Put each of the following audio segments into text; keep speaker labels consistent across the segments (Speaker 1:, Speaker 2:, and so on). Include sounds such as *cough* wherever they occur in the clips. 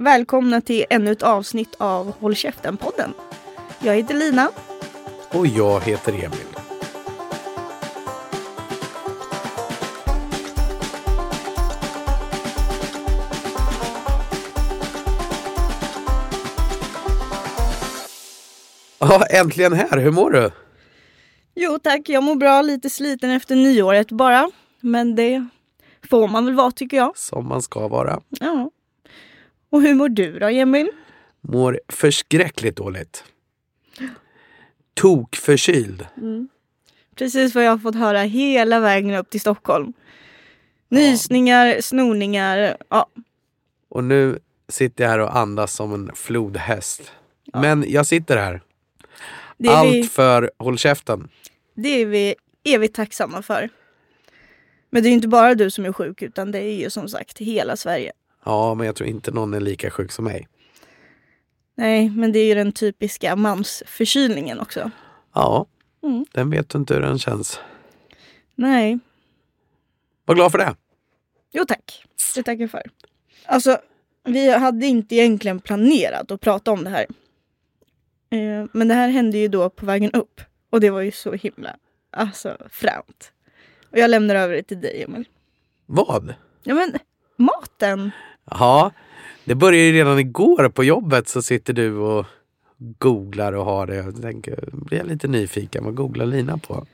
Speaker 1: Välkomna till ännu ett avsnitt av Håll käften-podden. Jag heter Lina.
Speaker 2: Och jag heter Emil. Ja, äntligen här. Hur mår du?
Speaker 1: Jo tack, jag mår bra. Lite sliten efter nyåret bara. Men det får man väl vara tycker jag.
Speaker 2: Som man ska vara.
Speaker 1: Ja. Och hur mår du då Emil?
Speaker 2: Mår förskräckligt dåligt. Tokförkyld.
Speaker 1: Precis vad jag har fått höra hela vägen upp till Stockholm. Nysningar, snorningar, ja.
Speaker 2: Och nu sitter jag här och andas som en flodhäst. Men jag sitter här.
Speaker 1: Det är, vi,
Speaker 2: Allt för håll käften.
Speaker 1: det är vi evigt tacksamma för. Men det är ju inte bara du som är sjuk utan det är ju som sagt hela Sverige.
Speaker 2: Ja, men jag tror inte någon är lika sjuk som mig.
Speaker 1: Nej, men det är ju den typiska mansförkylningen också.
Speaker 2: Ja,
Speaker 1: Mm.
Speaker 2: den vet du inte hur den känns.
Speaker 1: Nej,
Speaker 2: Var glad för det.
Speaker 1: jo tack. Det tackar jag för. Alltså, vi hade inte egentligen planerat att prata om det här. Eh, Men det här hände ju då på vägen upp. Och det var ju så himla, alltså fränt. Och jag lämnar över det till dig Emil.
Speaker 2: Vad?
Speaker 1: Ja men, maten!
Speaker 2: Ja, det började ju redan igår på jobbet så sitter du och googlar och har det. Jag tänker, blir jag lite nyfiken, vad googlar Lina på?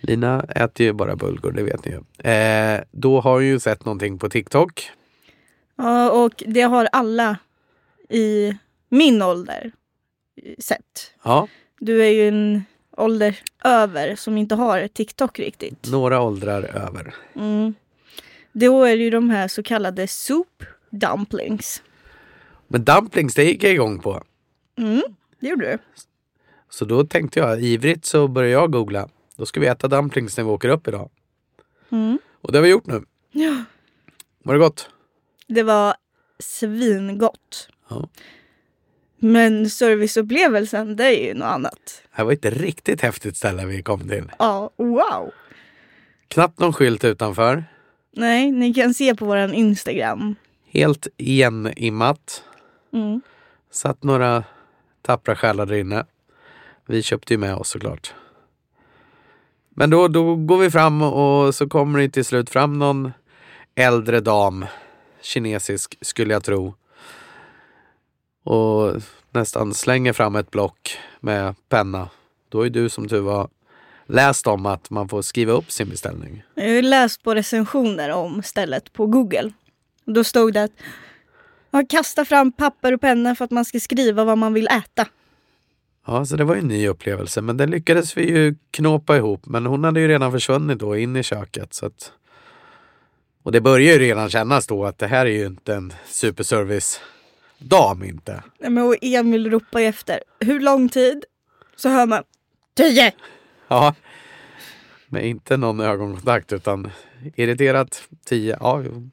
Speaker 2: Lina äter ju bara bulgur, det vet ni ju. Eh, då har hon ju sett någonting på TikTok.
Speaker 1: Ja, och det har alla i min ålder eh, sett.
Speaker 2: Ja,
Speaker 1: Du är ju en ålder över som inte har TikTok riktigt.
Speaker 2: några åldrar över.
Speaker 1: Mm. Då är det ju de här så kallade soup dumplings.
Speaker 2: Men dumplings, det gick jag igång på.
Speaker 1: Mm, det gjorde du.
Speaker 2: Så då tänkte jag, ivrigt så börjar jag googla. Då ska vi äta dumplings när vi åker upp idag.
Speaker 1: Mm.
Speaker 2: Och det har vi gjort nu.
Speaker 1: Ja.
Speaker 2: Var det gott?
Speaker 1: Det var svingott.
Speaker 2: Ja.
Speaker 1: Men serviceupplevelsen, det är ju något annat.
Speaker 2: Det här var ett riktigt häftigt ställe vi kom till.
Speaker 1: Ja, wow!
Speaker 2: Knappt någon skylt utanför.
Speaker 1: Nej, ni kan se på våran Instagram.
Speaker 2: Helt igenimmat.
Speaker 1: Mm.
Speaker 2: Satt några tappra själar där inne. Vi köpte ju med oss såklart. Men då, då går vi fram och så kommer det till slut fram någon äldre dam. Kinesisk skulle jag tro. Och nästan slänger fram ett block med penna. Då är du som tur var läst om att man får skriva upp sin beställning.
Speaker 1: Jag har ju läst på recensioner om stället på Google. Och Då stod det att man kastar fram papper och penna för att man ska skriva vad man vill äta.
Speaker 2: Ja, så det var ju en ny upplevelse. Men den lyckades vi ju knåpa ihop. Men hon hade ju redan försvunnit då in i köket. Så att... Och det börjar ju redan kännas då att det här är ju inte en superservice-dam inte.
Speaker 1: Nej, men och Emil ropar ju efter. Hur lång tid? Så hör man. Tio!
Speaker 2: Ja. Men inte någon ögonkontakt utan irriterat 10. Ja, jo.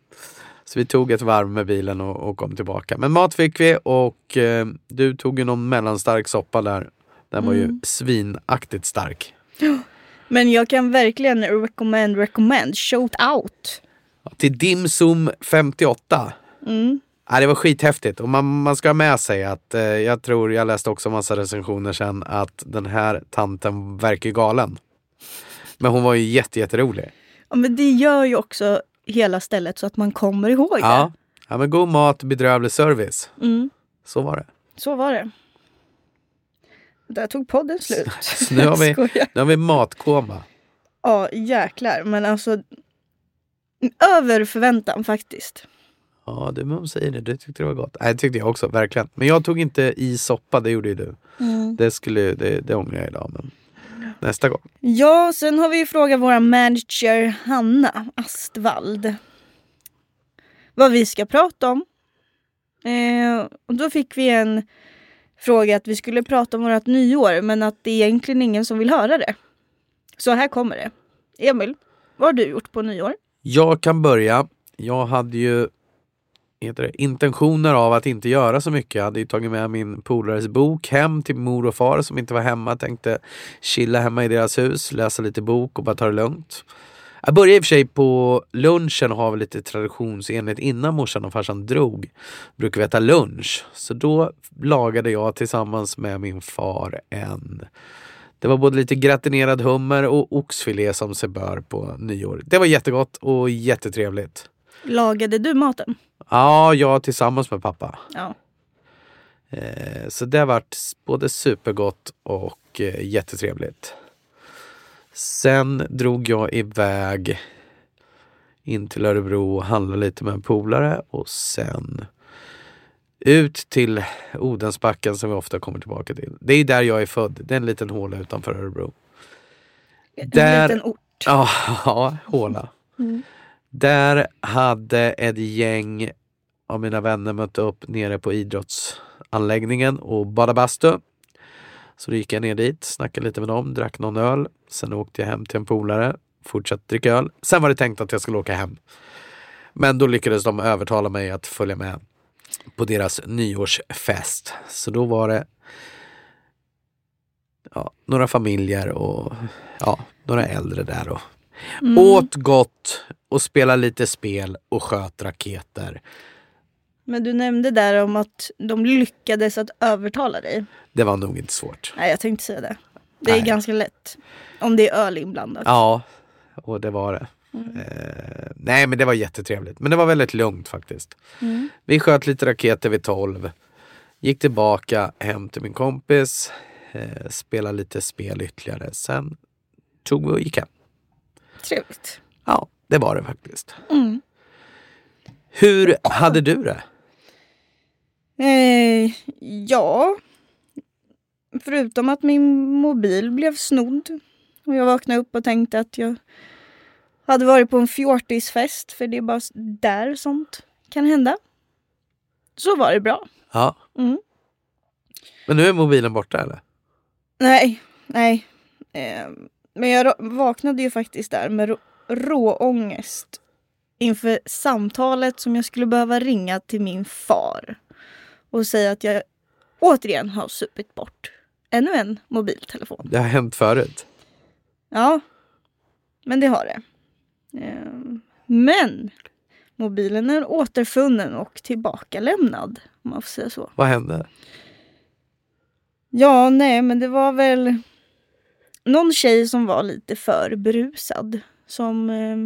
Speaker 2: så vi tog ett varv med bilen och, och kom tillbaka. Men mat fick vi och eh, du tog ju någon mellanstark soppa där. Den var ju svinaktigt stark.
Speaker 1: Men jag kan verkligen recommend, recommend, shout out.
Speaker 2: Till Dim Sum 58.
Speaker 1: Mm.
Speaker 2: Ja, det var skithäftigt och man, man ska ha med sig att eh, jag tror, jag läste också massa recensioner sen, att den här tanten verkar ju galen. Men hon var ju jätte, jätterolig.
Speaker 1: Ja, men det gör ju också hela stället så att man kommer ihåg
Speaker 2: Ja. ja, men god mat, bedrövlig service.
Speaker 1: det. Mm.
Speaker 2: Så var det.
Speaker 1: Så var det. Där tog podden slut.
Speaker 2: Så *laughs* nu har vi-
Speaker 1: Skojar.
Speaker 2: Nu har vi matkoma.
Speaker 1: Ja, jäklar. Men alltså, över förväntan faktiskt.
Speaker 2: Ja, du Mum säger det. Du tyckte det var gott. Nej, det tyckte jag också, verkligen. Men jag tog inte i soppa, det gjorde ju du.
Speaker 1: Mm.
Speaker 2: Det, skulle, det, det ångrar jag idag, men nästa gång.
Speaker 1: Ja, sen har vi ju frågat vår manager Hanna Astvald vad vi ska prata om. Eh, och då fick vi en fråga att vi skulle prata om vårt nyår men att det är egentligen ingen som vill höra det. Så här kommer det. Emil, vad har du gjort på nyår?
Speaker 2: Jag kan börja. Jag hade ju heter det, intentioner av att inte göra så mycket. Jag hade ju tagit med min polares bok hem till mor och far som inte var hemma. Tänkte chilla hemma i deras hus, läsa lite bok och bara ta det lugnt. Jag började i och för sig på lunchen och har väl lite traditionsenligt innan morsan och farsan drog. Brukar vi äta lunch. Så då lagade jag tillsammans med min far en det var både lite gratinerad hummer och oxfilé som sig bör på nyår. Det var jättegott och jättetrevligt.
Speaker 1: Lagade du maten?
Speaker 2: Ja, jag tillsammans med pappa.
Speaker 1: Ja.
Speaker 2: Eh, Så det har varit både supergott och eh, jättetrevligt. Sen drog jag iväg in till Örebro och handlade lite med en polare och sen ut till Odensbacken som vi ofta kommer tillbaka till. Det är där jag är född. Det är en liten håla utanför Örebro.
Speaker 1: En
Speaker 2: Där-
Speaker 1: liten ort.
Speaker 2: Ja, *laughs* ja, håla.
Speaker 1: Mm.
Speaker 2: Där hade ett gäng av mina vänner mött upp nere på idrottsanläggningen och badade bastu. Så då gick jag ner dit, snackade lite med dem, drack någon öl. Sen åkte jag hem till en polare, fortsatte dricka öl. Sen var det tänkt att jag skulle åka hem. Men då lyckades de övertala mig att följa med på deras nyårsfest. Så då var det ja, några familjer och ja, några äldre där och
Speaker 1: Mm.
Speaker 2: Åt gott och spela lite spel och sköt raketer.
Speaker 1: Men du nämnde där om att de lyckades att övertala dig.
Speaker 2: Det var nog inte svårt.
Speaker 1: Nej, jag tänkte säga det. Det
Speaker 2: Nej.
Speaker 1: är ganska lätt. Om det är öl inblandat.
Speaker 2: Ja, och det var det.
Speaker 1: Mm.
Speaker 2: Eh, nej, men det var jättetrevligt. Men det var väldigt lugnt faktiskt.
Speaker 1: Mm.
Speaker 2: Vi sköt lite raketer vid tolv. Gick tillbaka hem till min kompis. Eh, spelade lite spel ytterligare. Sen tog vi och gick hem.
Speaker 1: Trevligt.
Speaker 2: Ja, det var det faktiskt.
Speaker 1: Mm.
Speaker 2: Hur hade du det?
Speaker 1: Eh, ja. Förutom att min mobil blev snodd. Och jag vaknade upp och tänkte att jag hade varit på en fjortisfest. För det är bara s- där sånt kan hända. Så var det bra.
Speaker 2: Ja.
Speaker 1: Mm.
Speaker 2: Men nu är mobilen borta eller?
Speaker 1: Nej, nej. Eh, men jag ra- vaknade ju faktiskt där med rå- råångest inför samtalet som jag skulle behöva ringa till min far och säga att jag återigen har supit bort ännu en mobiltelefon.
Speaker 2: Det har hänt förut.
Speaker 1: Ja, men det har det. Eh, men mobilen är återfunnen och tillbakalämnad, om man får säga så.
Speaker 2: Vad hände?
Speaker 1: Ja, nej, men det var väl någon tjej som var lite för berusad som eh,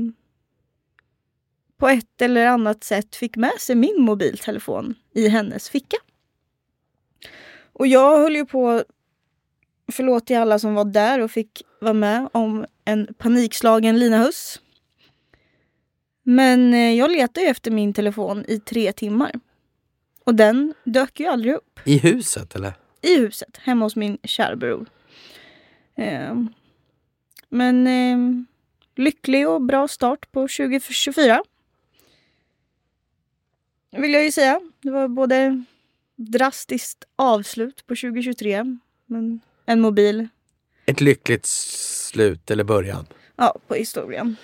Speaker 1: på ett eller annat sätt fick med sig min mobiltelefon i hennes ficka. Och jag höll ju på, förlåt till alla som var där och fick vara med om en panikslagen Lina Huss. Men eh, jag letade ju efter min telefon i tre timmar. Och den dök ju aldrig upp
Speaker 2: I huset eller?
Speaker 1: i huset hemma hos min kära bror. Ehm, men ehm, lycklig och bra start på 2024. Vill jag ju säga. Det var både drastiskt avslut på 2023. Men en mobil
Speaker 2: ett lyckligt slut eller början.
Speaker 1: ja, på historien.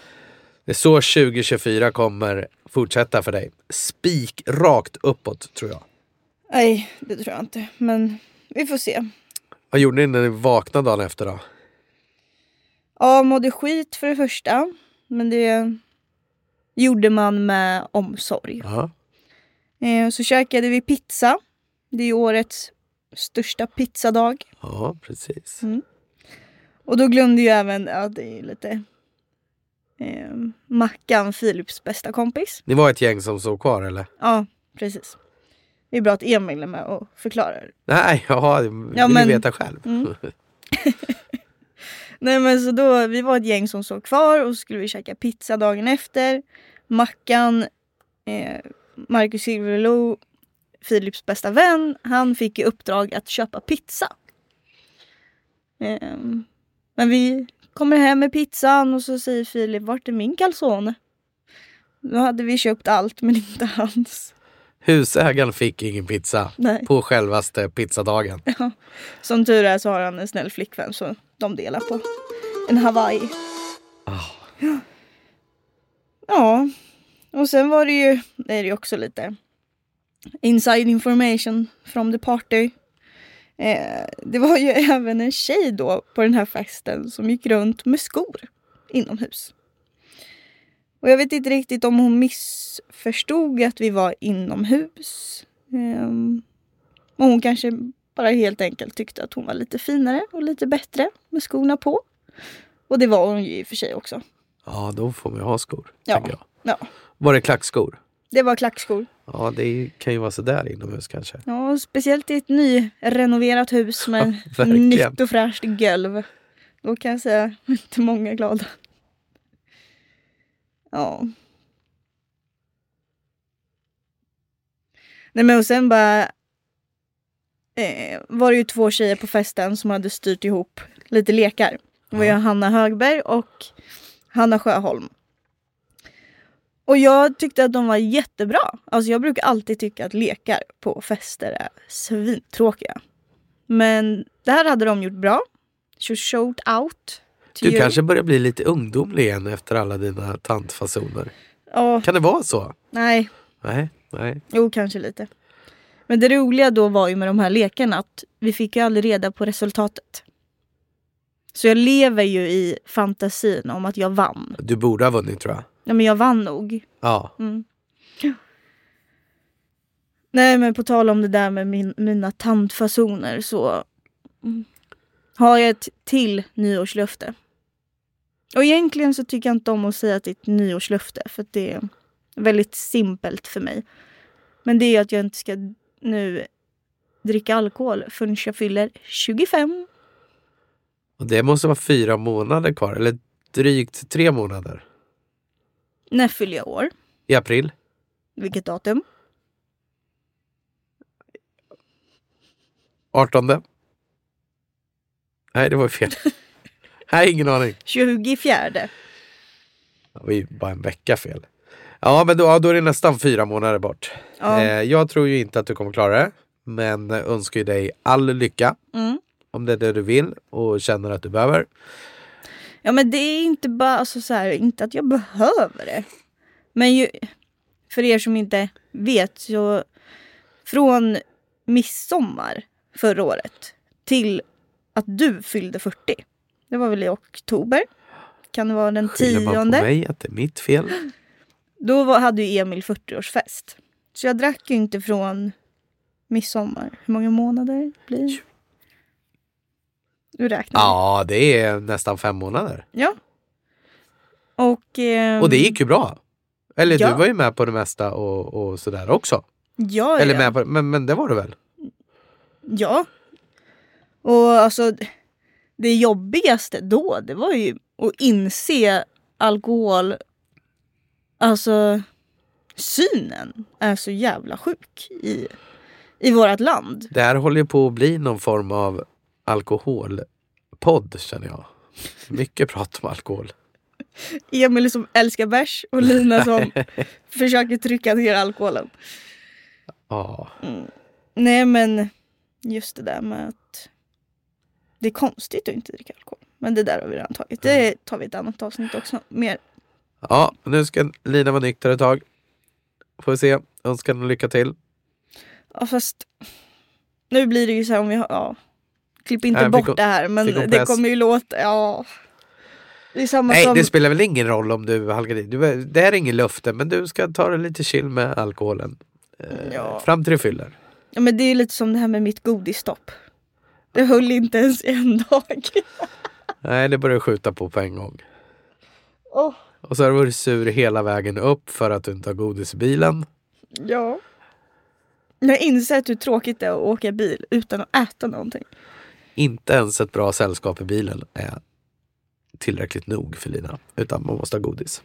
Speaker 2: Det är så 2024 kommer fortsätta för dig. Spik rakt uppåt tror jag.
Speaker 1: Nej, det tror jag inte. Men vi får se.
Speaker 2: Vad gjorde ni när ni vaknade dagen efter då?
Speaker 1: Ja, mådde skit för det första. Men det gjorde man med omsorg.
Speaker 2: Ja.
Speaker 1: Eh, Så käkade vi pizza. Det är ju årets största pizzadag.
Speaker 2: Ja, precis.
Speaker 1: Och då glömde ju även, ja det är ju lite eh, Mackan, Philips bästa kompis.
Speaker 2: Ni var ett gäng som sov kvar eller?
Speaker 1: Ja, precis. Det är bra att Emil är med och förklarar.
Speaker 2: Nej, *laughs* jaha, det vill
Speaker 1: Ja,
Speaker 2: du
Speaker 1: men-
Speaker 2: veta själv.
Speaker 1: Mm. Nej men så då, vi var ett gäng som såg kvar och så skulle vi käka pizza dagen efter. Mackan, eh, Marcus Silverlo, Philips bästa vän, han fick i uppdrag att köpa pizza. Ehm, men vi kommer hem med pizzan och så säger Filip, vart är min calzone? Då hade vi köpt allt men inte hans.
Speaker 2: *laughs* Husägaren fick ingen pizza
Speaker 1: Nej.
Speaker 2: på självaste pizzadagen.
Speaker 1: Som tur är så har han en snäll flickvän så de delar på en Hawaii.
Speaker 2: Ah.
Speaker 1: Ja, och sen var det ju, det är det ju också lite inside information from the party. Eh, det var ju *laughs* även en tjej då på den här festen som gick runt med skor inomhus. Och jag vet inte riktigt om hon missförstod att vi var inomhus. Ehm, och hon kanske bara helt enkelt tyckte att hon var lite finare och lite bättre med skorna på. Och det var hon ju i och för sig också.
Speaker 2: Ja, då får man ju ha skor.
Speaker 1: Ja.
Speaker 2: Tänker jag.
Speaker 1: Ja,
Speaker 2: Var det klackskor?
Speaker 1: det var klackskor.
Speaker 2: Ja, det kan ju vara sådär inomhus kanske.
Speaker 1: Ja, och speciellt i ett nyrenoverat hus med
Speaker 2: verkligen.
Speaker 1: nytt och fräscht golv. Då kan jag säga *laughs* inte många glada. Ja. Nej men och sen bara eh, var det ju två tjejer på festen som hade styrt ihop lite lekar. Det var ju
Speaker 2: Ja.
Speaker 1: Hanna Högberg och Hanna Sjöholm. Och jag tyckte att de var jättebra. Alltså jag brukar alltid tycka att lekar på fester är svintråkiga. Men det här hade de gjort bra. Så shout out. to
Speaker 2: Du
Speaker 1: you.
Speaker 2: kanske börjar bli lite ungdomlig igen efter alla dina tantfasoner.
Speaker 1: Ja,
Speaker 2: Kan det vara så?
Speaker 1: nej.
Speaker 2: Nej, nej.
Speaker 1: Jo, kanske lite. Men det roliga då var ju med de här lekarna att vi fick ju aldrig reda på resultatet. Så jag lever ju i fantasin om att jag vann.
Speaker 2: Du borde ha vunnit tror jag.
Speaker 1: Ja, men jag vann nog.
Speaker 2: Ja.
Speaker 1: Mm. Nej men på tal om det där med min, mina tandfasoner så mm, har jag ett till nyårslöfte. Och egentligen så tycker jag inte om att säga att det är ett nyårslöfte för att det är väldigt simpelt för mig. Men det är att jag inte ska nu dricka alkohol förrän jag fyller 25.
Speaker 2: Och det måste vara fyra månader kvar, eller drygt tre månader.
Speaker 1: När fyller jag år?
Speaker 2: I april.
Speaker 1: Vilket datum?
Speaker 2: 18. Nej, det
Speaker 1: *laughs*
Speaker 2: var fel. Nej, ingen aning.
Speaker 1: 24.
Speaker 2: Det var ju bara en vecka fel. Ja, men då, ja, då är det nästan fyra månader bort.
Speaker 1: Ja.
Speaker 2: Eh, jag tror ju inte att du kommer klara det, men önskar ju dig all lycka
Speaker 1: Mm.
Speaker 2: om det är det du vill och känner att du behöver.
Speaker 1: Ja men det är inte bara alltså, så här, inte att jag behöver det. Men ju, för er som inte vet så från midsommar förra året till att du fyllde 40. Det var väl i oktober? Kan det vara den
Speaker 2: Skyller man på
Speaker 1: tionde?
Speaker 2: mig att det är mitt fel?
Speaker 1: Då var, hade ju Emil 40-årsfest. Så jag drack ju inte från midsommar. Hur många månader blir det? Du räknar?
Speaker 2: Ja, det är nästan fem månader.
Speaker 1: ja. Och, ehm,
Speaker 2: Och det gick ju bra. Eller
Speaker 1: Ja.
Speaker 2: du var ju med på det mesta och, och sådär också.
Speaker 1: Ja,
Speaker 2: Eller
Speaker 1: ja.
Speaker 2: med på, men, men det var du väl?
Speaker 1: Ja. Och alltså det jobbigaste då det var ju att inse alkohol, alltså synen är så jävla sjuk i, i vårt land.
Speaker 2: Det här håller ju på att bli någon form av alkoholpodd känner jag. Mycket prat om alkohol.
Speaker 1: Emil som älskar bärs och Lina som försöker trycka ner alkoholen.
Speaker 2: Ja,
Speaker 1: Nej men just det där med att det är konstigt att inte dricka alkohol. Men det där har vi redan tagit. Det tar vi i ett annat avsnitt också. Mer
Speaker 2: ja nu ska Lina vara nykter ett tag. Får vi se. Önskar henne lycka till.
Speaker 1: Ja fast nu blir det ju så här om vi har, ja. Klipp inte
Speaker 2: Nej, fick
Speaker 1: bort
Speaker 2: hon-
Speaker 1: det här men
Speaker 2: fick hon
Speaker 1: det
Speaker 2: press?
Speaker 1: kommer ju låta, ja. Det är samma
Speaker 2: Nej,
Speaker 1: som,
Speaker 2: det spelar väl ingen roll om du halkar dit. Du, det här är ingen löfte, men du ska ta det lite chill med alkoholen. Eh,
Speaker 1: Ja.
Speaker 2: Fram till du fyller.
Speaker 1: ja, men det är ju lite som det här med mitt godisstopp. Det höll inte ens i en dag. *laughs*
Speaker 2: Nej, det börjar skjuta på på en gång.
Speaker 1: Åh,
Speaker 2: Och så har du varit sur hela vägen upp för att du inte har godis i bilen.
Speaker 1: ja. Jag inser att hur tråkigt det är att åka bil utan att äta någonting.
Speaker 2: Inte ens ett bra sällskap i bilen är tillräckligt nog för Lina. Utan man måste ha godis.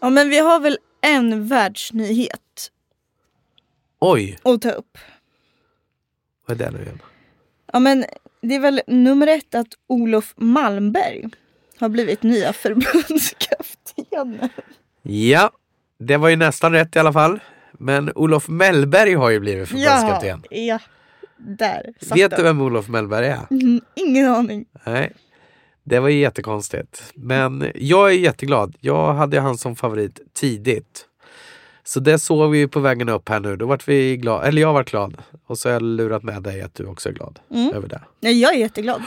Speaker 1: Ja men vi har väl en världsnyhet
Speaker 2: Oj,
Speaker 1: att ta upp.
Speaker 2: vad är det nu igen?
Speaker 1: Ja men det är väl nummer ett att Olof Malmberg har blivit nya förbundskapten.
Speaker 2: Ja, det var ju nästan rätt i alla fall. Men Olof Mellberg har ju blivit förbundskapten.
Speaker 1: Ja, ja. Där satt
Speaker 2: Vet
Speaker 1: den.
Speaker 2: du vem Olof Mellberg är?
Speaker 1: Mm, Ingen aning.
Speaker 2: Nej. Det var ju jättekonstigt. Men jag är jätteglad. Jag hade ju han som favorit tidigt. Så det såg vi ju på vägen upp här nu. Då vart vi glada. Eller jag vart glad. Och så har jag lurat med dig att du också är glad
Speaker 1: Mm.
Speaker 2: över det. *gasps*
Speaker 1: Nej, jag är jätteglad.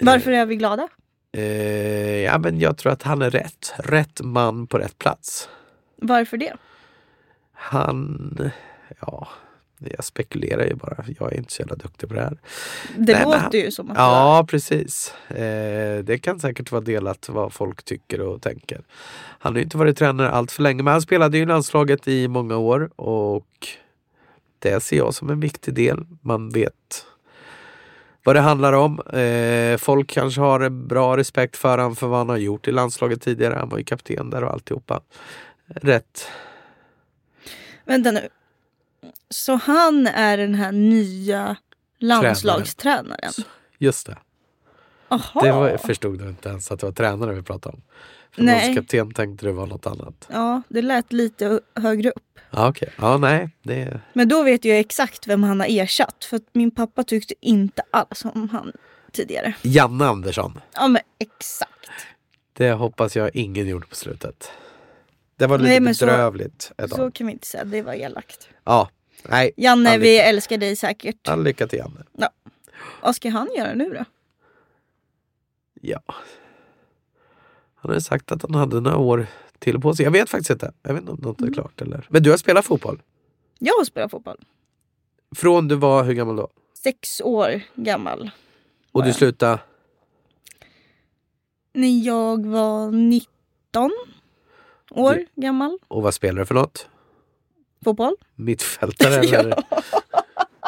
Speaker 1: Varför är vi glada?
Speaker 2: Eh, ja, men jag tror att han är rätt. Rätt man på rätt plats.
Speaker 1: Varför det?
Speaker 2: Han... Ja, jag spekulerar ju bara. Jag är inte så jävla duktig på det här.
Speaker 1: Det
Speaker 2: Nej, men
Speaker 1: låter
Speaker 2: han-
Speaker 1: ju som att
Speaker 2: Ja, precis. Eh, det kan säkert vara delat vad folk tycker och tänker. Han har ju inte varit tränare allt för länge, men han spelade ju i landslaget i många år och det ser jag som en viktig del. Man vet vad det handlar om. Eh, folk kanske har en bra respekt för honom för vad han har gjort i landslaget tidigare. Han var ju kapten där och alltihopa. Rätt.
Speaker 1: Vänta nu. Så han är den här nya landslagstränaren?
Speaker 2: Just det.
Speaker 1: Jaha.
Speaker 2: Det var, förstod du inte ens att det var tränare vi pratade om. För
Speaker 1: Nej.
Speaker 2: någon kapten tänkte det var något annat.
Speaker 1: Ja, det lät lite ö- högre upp.
Speaker 2: Ja, okej. Ja, nej. Det,
Speaker 1: Men då vet jag exakt vem han har ersatt. För att min pappa tyckte inte alls om han tidigare.
Speaker 2: Janne Andersson.
Speaker 1: Ja, men exakt.
Speaker 2: Det hoppas jag ingen gjorde på slutet. Det var lite
Speaker 1: Nej, men så-
Speaker 2: bedrövligt. ett
Speaker 1: Så
Speaker 2: tag.
Speaker 1: kan vi inte säga. Det var elakt.
Speaker 2: Ja, nej.
Speaker 1: Janne,
Speaker 2: Han
Speaker 1: vi
Speaker 2: lyckas.
Speaker 1: älskar dig säkert.
Speaker 2: All lycka till Janne.
Speaker 1: Vad ska han göra nu då?
Speaker 2: Ja. Han hade sagt att han hade några år till på sig. Jag vet faktiskt inte. Jag vet inte om något
Speaker 1: Mm.
Speaker 2: är klart eller. Men du har spelat fotboll?
Speaker 1: Jag spelar fotboll.
Speaker 2: Från du var hur gammal då?
Speaker 1: Sex år gammal.
Speaker 2: Och du
Speaker 1: jag.
Speaker 2: slutade?
Speaker 1: När jag var 19 år
Speaker 2: Du-
Speaker 1: gammal.
Speaker 2: Och vad spelar du för något?
Speaker 1: Fotboll. *laughs*
Speaker 2: Mittfältare eller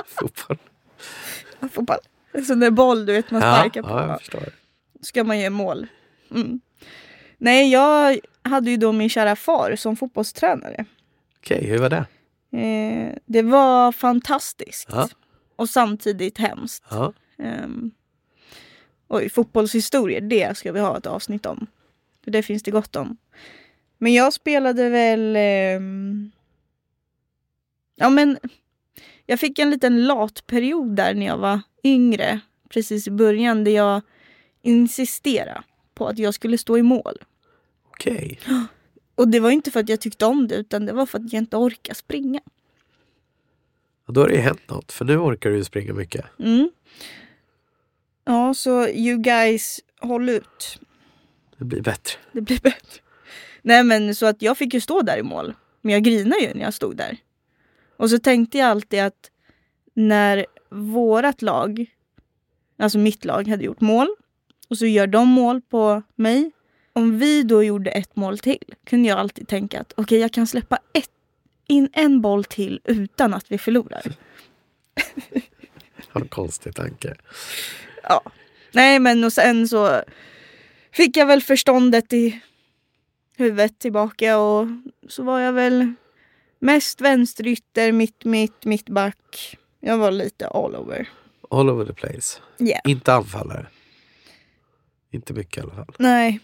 Speaker 2: fotboll?
Speaker 1: fotboll. Sån där boll du vet man
Speaker 2: Ja,
Speaker 1: sparkar på.
Speaker 2: ja, jag förstår.
Speaker 1: ska man göra mål. Mm. Nej, jag hade ju då min kära far som fotbollstränare.
Speaker 2: Okej, hur var det?
Speaker 1: Eh, det var fantastiskt.
Speaker 2: Ja.
Speaker 1: Och samtidigt hemskt.
Speaker 2: Ja.
Speaker 1: Ehm, oj, fotbollshistorier, det ska vi ha ett avsnitt om. För det finns det gott om. Men jag spelade väl... ehm, ja, men... Jag fick en liten lat period där när jag var yngre. Precis i början där jag insisterade på att jag skulle stå i mål.
Speaker 2: Okej.
Speaker 1: Och det var inte för att jag tyckte om det utan det var för att jag inte orkade springa.
Speaker 2: Och Då har det ju hänt något. För nu orkar du ju springa mycket.
Speaker 1: Mm. Ja, så you guys, håll ut.
Speaker 2: Det blir bättre.
Speaker 1: Det blir bättre. Nej men så att jag fick ju stå där i mål. Men jag grinade ju när jag stod där. Och så tänkte jag alltid att när vårat lag, alltså mitt lag, hade gjort mål och så gör de mål på mig. Om vi då gjorde ett mål till kunde jag alltid tänka att okej jag kan släppa ett, in en boll till utan att vi förlorar.
Speaker 2: Har en konstig tanke.
Speaker 1: Ja. Nej men och sen så fick jag väl förståndet i huvudet tillbaka och så var jag väl mest vänsterytter, mitt, mitt, mittback. Jag var lite all over.
Speaker 2: All over the place.
Speaker 1: Yeah.
Speaker 2: Inte anfallare. Inte mycket i alla fall.
Speaker 1: Nej.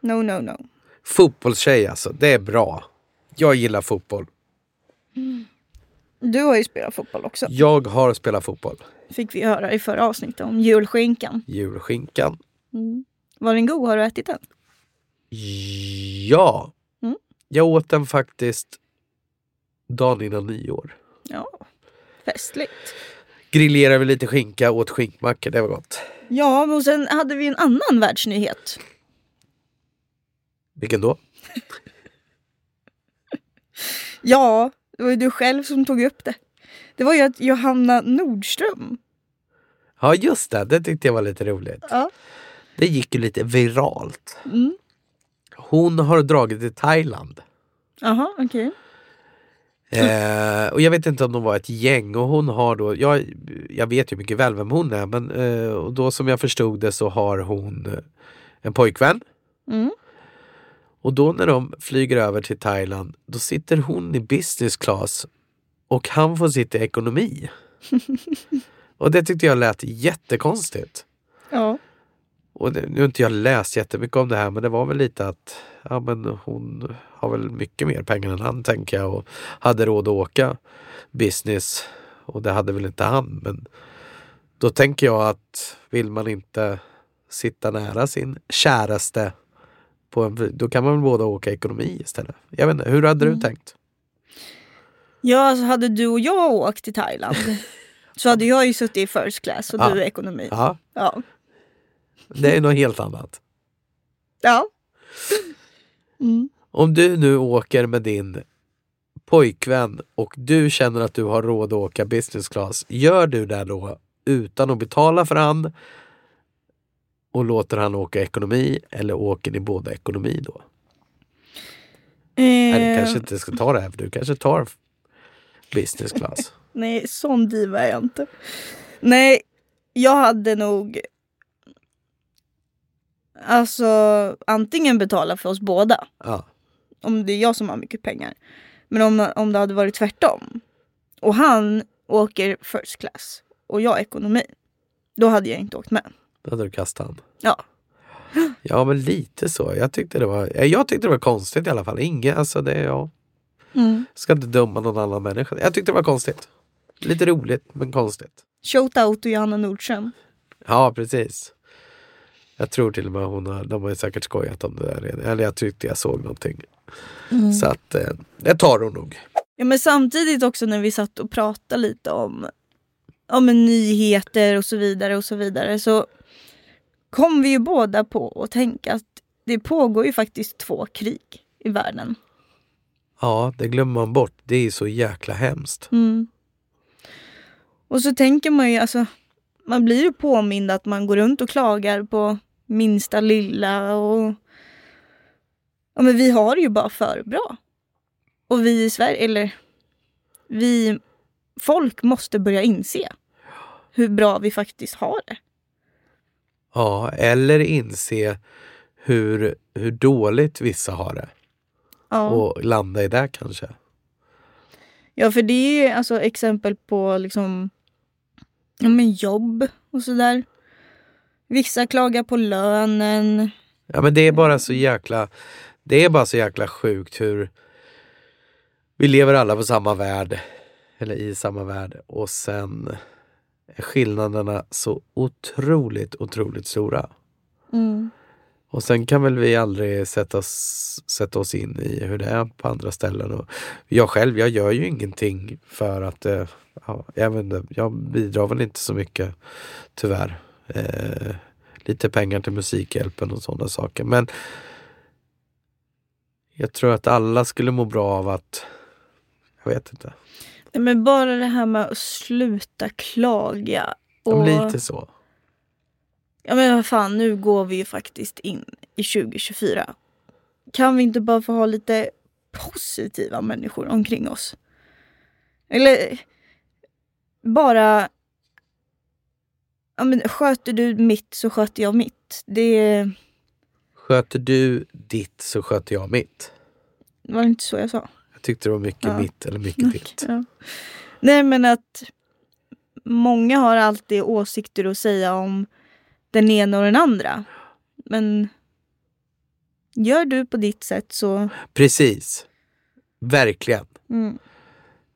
Speaker 1: No, no, no.
Speaker 2: Fotbollstjej alltså, det är bra. Jag gillar fotboll.
Speaker 1: Du har ju spelat fotboll också.
Speaker 2: Jag har spelat fotboll.
Speaker 1: Fick vi höra i förra avsnittet om julskinkan.
Speaker 2: Julskinkan.
Speaker 1: Var den god? Har du ätit den?
Speaker 2: Ja!
Speaker 1: Mm.
Speaker 2: Jag åt den faktiskt dagen innan nyår.
Speaker 1: Ja. Festligt.
Speaker 2: Grillerade vi lite skinka, åt skinkmackor, det var gott.
Speaker 1: Ja, men och sen hade vi en annan världsnyhet.
Speaker 2: Vilken då?
Speaker 1: Ja, det var ju du själv som tog upp det. Det var ju att Johanna Nordström.
Speaker 2: Ja just det, det tyckte jag var lite roligt.
Speaker 1: Ja.
Speaker 2: Det gick ju lite viralt.
Speaker 1: Mm.
Speaker 2: Hon har dragit till Thailand.
Speaker 1: Jaha, okej.
Speaker 2: Eh, och jag vet inte om de var ett gäng och hon har då, jag, jag vet ju mycket väl vem hon är, men eh, och då som jag förstod det så har hon eh, en pojkvän.
Speaker 1: Mm.
Speaker 2: Och då när de flyger över till Thailand, då sitter hon i business class och han får sitta i ekonomi. och det tyckte jag lät jättekonstigt.
Speaker 1: Ja.
Speaker 2: Och det, nu har inte jag läst jättemycket om det här men det var väl lite att ja, men hon har väl mycket mer pengar än han tänker jag och hade råd att åka business och det hade väl inte han. Men då tänker jag att vill man inte sitta nära sin käraste på en, då kan man väl båda åka ekonomi istället. Jag vet inte, hur hade du tänkt?
Speaker 1: Ja, alltså hade du och jag åkt till *laughs* Thailand så hade jag ju suttit i first class och
Speaker 2: Ja.
Speaker 1: du i ekonomi.
Speaker 2: Ja,
Speaker 1: Ja.
Speaker 2: Det är något helt annat.
Speaker 1: Ja. Mm.
Speaker 2: Om du nu åker med din pojkvän och du känner att du har råd att åka business class, gör du det då utan att betala för han och låter han åka ekonomi eller åker ni båda ekonomi då?
Speaker 1: Eh,
Speaker 2: Eller kanske inte ska ta det här för du kanske tar business class.
Speaker 1: Nej, sån diva är jag inte. Nej, jag hade nog... Alltså, antingen betala för oss båda.
Speaker 2: Ja.
Speaker 1: Om det är jag som har mycket pengar. Men om, om det hade varit tvärtom. Och han åker first class och jag ekonomi. Då hade jag inte åkt med.
Speaker 2: Då hade du kastat han.
Speaker 1: Ja.
Speaker 2: Ja men lite så. Jag tyckte det var, eh, jag tyckte det var konstigt i alla fall. Ingen, alltså det, jag
Speaker 1: Mm.
Speaker 2: ska inte döma någon annan människa. Jag tyckte det var konstigt. Lite roligt men konstigt.
Speaker 1: Shoutout till Johanna Nordström.
Speaker 2: Ja precis. Jag tror till och med hon har, de har ju säkert skojat om det där redan. Eller jag tyckte jag såg någonting.
Speaker 1: Mm.
Speaker 2: Så att eh, det tar hon nog.
Speaker 1: Ja, men samtidigt också när vi satt och pratade lite om, om nyheter och så vidare och så vidare så kom vi ju båda på att tänka att det pågår ju faktiskt två krig i världen.
Speaker 2: Ja det glömmer man bort. Det är så jäkla hemskt.
Speaker 1: Mm. Och så tänker man ju, alltså, man blir ju påmind att man går runt och klagar på minsta lilla och... Ja men vi har det ju bara för bra. Och vi i Sverige, eller vi... Folk måste börja inse hur bra vi faktiskt har det.
Speaker 2: Ja eller inse hur, hur dåligt vissa har det.
Speaker 1: Ja.
Speaker 2: Och landa i det kanske.
Speaker 1: Ja, för det är ju alltså exempel på liksom, ja, men jobb och sådär. Vissa klagar på lönen.
Speaker 2: Ja men det är bara så jäkla Det är bara så jäkla sjukt hur Vi lever alla på samma värld Eller i samma värld och sen är skillnaderna så otroligt otroligt stora.
Speaker 1: Mm.
Speaker 2: Och sen kan väl vi aldrig sätta oss, sätta oss in i hur det är på andra ställen. Och jag själv, jag gör ju ingenting för att eh, ja, jag, vet inte, jag bidrar väl inte så mycket tyvärr. Eh, lite pengar till Musikhjälpen och sådana saker. Men jag tror att alla skulle må bra av att jag vet inte.
Speaker 1: Nej, Men bara det här med att sluta klaga.
Speaker 2: Ja,
Speaker 1: Och,
Speaker 2: men Lite så.
Speaker 1: ja men vad fan, nu går vi ju faktiskt in i 2024. Kan vi inte bara få ha lite positiva människor omkring oss? Eller bara... Ja, men sköter du mitt så sköter jag mitt. Det
Speaker 2: Sköter du ditt så sköter jag mitt.
Speaker 1: var det inte så jag sa.
Speaker 2: Jag tyckte det var mycket
Speaker 1: Ja.
Speaker 2: mitt eller mycket ditt.
Speaker 1: Ja. Nej men att många har alltid åsikter att säga om den ena och den andra. Men gör du på ditt sätt så...
Speaker 2: Precis. Verkligen.
Speaker 1: Mm.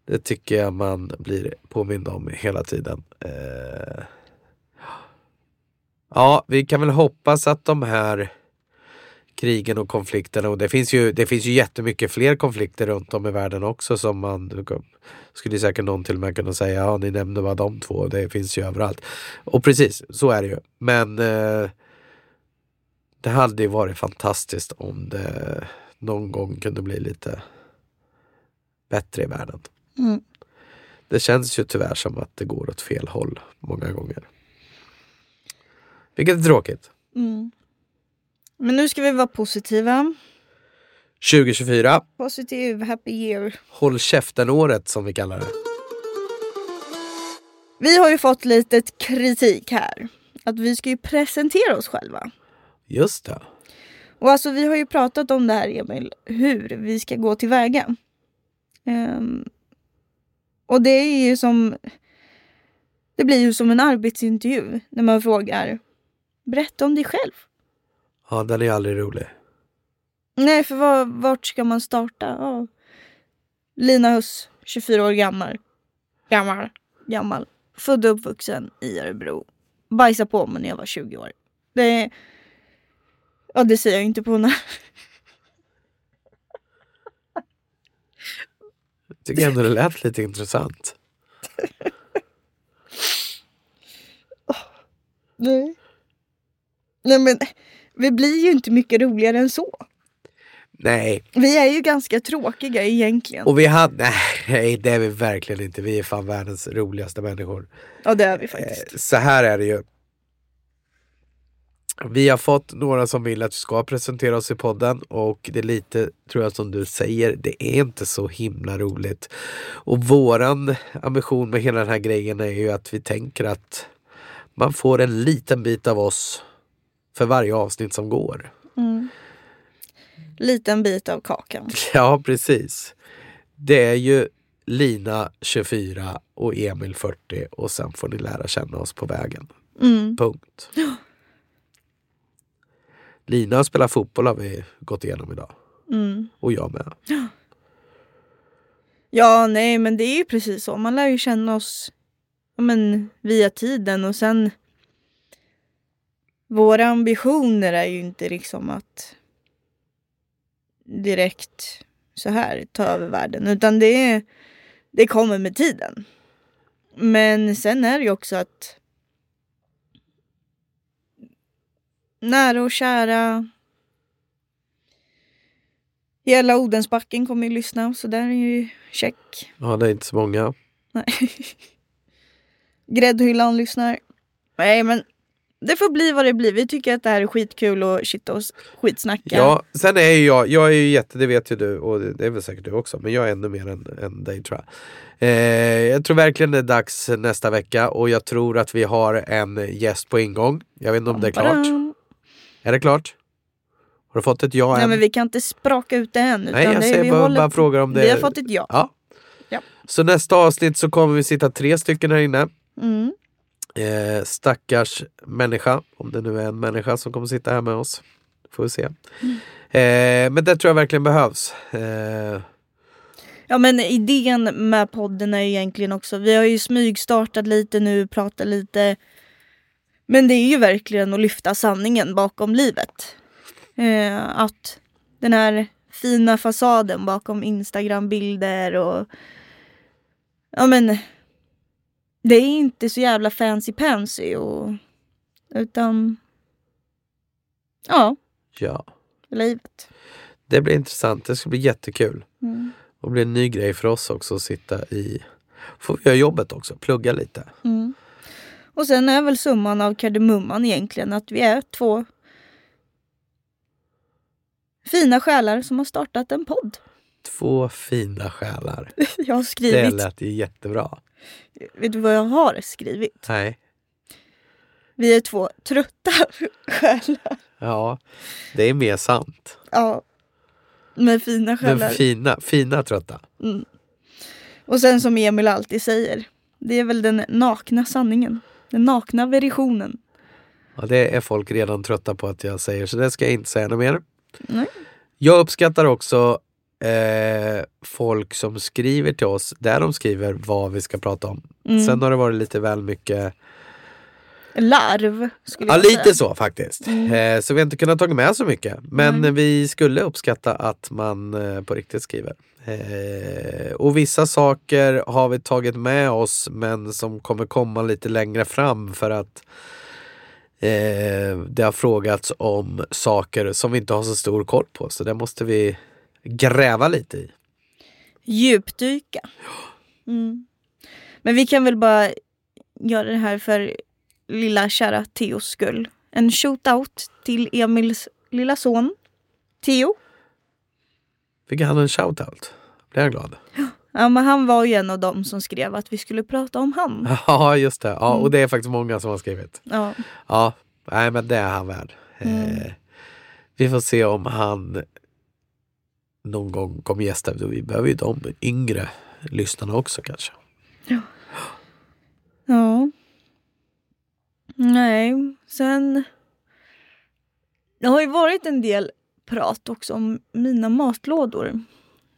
Speaker 2: Det tycker jag man blir påmind om hela tiden. Eh. Ja, vi kan väl hoppas att de här krigen och konflikterna och det finns ju, det finns ju jättemycket fler konflikter runt om i världen också som man skulle säkert någon till och med kunna säga, ja ni nämnde bara de två, det finns ju överallt. Och precis, så är det ju. Men eh, det hade ju varit fantastiskt om det någon gång kunde bli lite bättre i världen.
Speaker 1: Mm.
Speaker 2: Det känns ju tyvärr som att det går åt fel håll många gånger. Vilket är tråkigt.
Speaker 1: Mm. Men nu ska vi vara positiva.
Speaker 2: 2024,
Speaker 1: Positiv, happy year.
Speaker 2: håll käften-året som vi kallar det.
Speaker 1: Vi har ju fått lite kritik här. Att vi ska ju presentera oss själva.
Speaker 2: Just det.
Speaker 1: Och alltså vi har ju pratat om det här Emil, hur vi ska gå tillväga. Ehm, och det är ju som... Det blir ju som en arbetsintervju när man frågar Berätta om dig själv.
Speaker 2: Ja, den är aldrig rolig.
Speaker 1: Nej, för var, vart ska man starta? Ja. Lina Huss, 24 år gammal. Gammal. Gammal. Född och uppvuxen i Örebro. Bajsa på mig när jag var 20 år. Det... Ja, det säger jag inte på några
Speaker 2: Tycker ändå det lät lite intressant.
Speaker 1: Nej. Nej, men, vi blir ju inte mycket roligare än så.
Speaker 2: Nej,
Speaker 1: Vi är ju ganska tråkiga egentligen.
Speaker 2: och vi hade... *laughs* Nej, det är vi verkligen inte. Vi är fan världens roligaste människor.
Speaker 1: Ja, det är vi
Speaker 2: Eh,
Speaker 1: faktiskt.
Speaker 2: Så här är det ju. Vi har fått några som vill att vi ska presentera oss i podden och det är lite, tror jag, som du säger, det är inte så himla roligt. Och våran ambition med hela den här grejen är ju att vi tänker att man får en liten bit av oss för varje avsnitt som går. *laughs*
Speaker 1: Mm. Liten bit av kakan.
Speaker 2: Ja, precis. Det är ju Lina 24 och Emil 40 och sen får ni lära känna oss på vägen.
Speaker 1: Mm.
Speaker 2: Punkt. Lina spelar fotboll har vi gått igenom idag.
Speaker 1: Mm.
Speaker 2: Och jag med.
Speaker 1: Ja, nej, men det är ju precis så. Man lär ju känna oss ja, men, via tiden och sen... Våra ambitioner är ju inte liksom att direkt så här ta över världen, utan det, är, det kommer med tiden. Men sen är det ju också att nära och kära Hela Odensbacken kommer ju lyssna, så där är ju check.
Speaker 2: Ja, det är inte så många.
Speaker 1: Nej. *laughs* Gräddhyllan lyssnar. Nej men det får bli vad det blir. Vi tycker att det här är skitkul och shit och s- skitsnacka.
Speaker 2: Ja, sen är ju jag, jag är ju jätte, det vet ju du och det är väl säkert du också, men jag är ännu mer än, än dig tror jag. Eh, jag tror verkligen det är dags nästa vecka och jag tror att vi har en gäst på ingång. Jag vet inte om det är klart.
Speaker 1: Badam.
Speaker 2: Är det klart? Har du fått ett ja
Speaker 1: Nej
Speaker 2: än?
Speaker 1: men vi kan inte spraka ut det än. Utan
Speaker 2: Nej, jag
Speaker 1: det, vi
Speaker 2: säger bara,
Speaker 1: håller-
Speaker 2: bara frågar om det.
Speaker 1: Vi har fått ett ja.
Speaker 2: Ja.
Speaker 1: Ja.
Speaker 2: Så nästa avsnitt så kommer vi sitta tre stycken här inne.
Speaker 1: Mm.
Speaker 2: Eh, stackars människa, om det nu är en människa som kommer sitta här med oss. Får vi se. Eh, men det tror jag verkligen behövs. Eh,
Speaker 1: Ja men idén med podden är ju egentligen också, vi har ju smygstartat lite nu, pratat lite. Men det är ju verkligen att lyfta sanningen bakom livet. Eh, att den här fina fasaden bakom Instagram-bilder och ja men det är inte så jävla fancy pansy och utan ja,
Speaker 2: ja,
Speaker 1: livet.
Speaker 2: det blir intressant. Det ska bli jättekul.
Speaker 1: Mm.
Speaker 2: Och blir en ny grej för oss också att sitta i... Får vi göra jobbet också, plugga lite.
Speaker 1: Mm. Och sen är väl summan av kardemumman egentligen att vi är två fina själar som har startat en podd.
Speaker 2: Två fina själar.
Speaker 1: Jag har
Speaker 2: Det
Speaker 1: skrivit,
Speaker 2: lät ju jättebra.
Speaker 1: vet du vad jag har skrivit?
Speaker 2: Nej.
Speaker 1: Vi är två trötta *laughs* själar.
Speaker 2: Ja, det är mer sant.
Speaker 1: Ja. Med fina
Speaker 2: Men
Speaker 1: själar.
Speaker 2: fina, fina trötta.
Speaker 1: Mm. Och sen som Emil alltid säger, det är väl den nakna sanningen. Den nakna versionen.
Speaker 2: Ja, det är folk redan trötta på att jag säger, så det ska jag inte säga något mer.
Speaker 1: Nej.
Speaker 2: Jag uppskattar också eh, folk som skriver till oss, där de skriver vad vi ska prata om.
Speaker 1: Mm.
Speaker 2: Sen har det varit lite väl mycket,
Speaker 1: Larv skulle
Speaker 2: ja
Speaker 1: jag
Speaker 2: lite
Speaker 1: säga.
Speaker 2: så faktiskt.
Speaker 1: Mm.
Speaker 2: Eh, så vi har inte kunnat ta med så mycket. Men
Speaker 1: Nej.
Speaker 2: vi skulle uppskatta att man eh, på riktigt skriver. Eh, och vissa saker har vi tagit med oss men som kommer komma lite längre fram för att Eh, det har frågats om saker som vi inte har så stor koll på så det måste vi gräva lite i.
Speaker 1: Djupdyka. Mm. Men vi kan väl bara göra det här för lilla kära Theos skull. En shootout till Emils lilla son Theo.
Speaker 2: Fick han en shoutout? Blir jag glad?
Speaker 1: Ja, men han var ju en av dem som skrev att vi skulle prata om han.
Speaker 2: *laughs* Ja, just det. Ja,
Speaker 1: Mm.
Speaker 2: och det är faktiskt många som har skrivit.
Speaker 1: Ja.
Speaker 2: Ja, nej men det är han värd. Eh,
Speaker 1: Mm.
Speaker 2: vi får se om han någon gång kommer gästa. Vi behöver ju de yngre lyssnarna också kanske.
Speaker 1: ja. Nej, sen... Det har ju varit en del prat också om mina matlådor.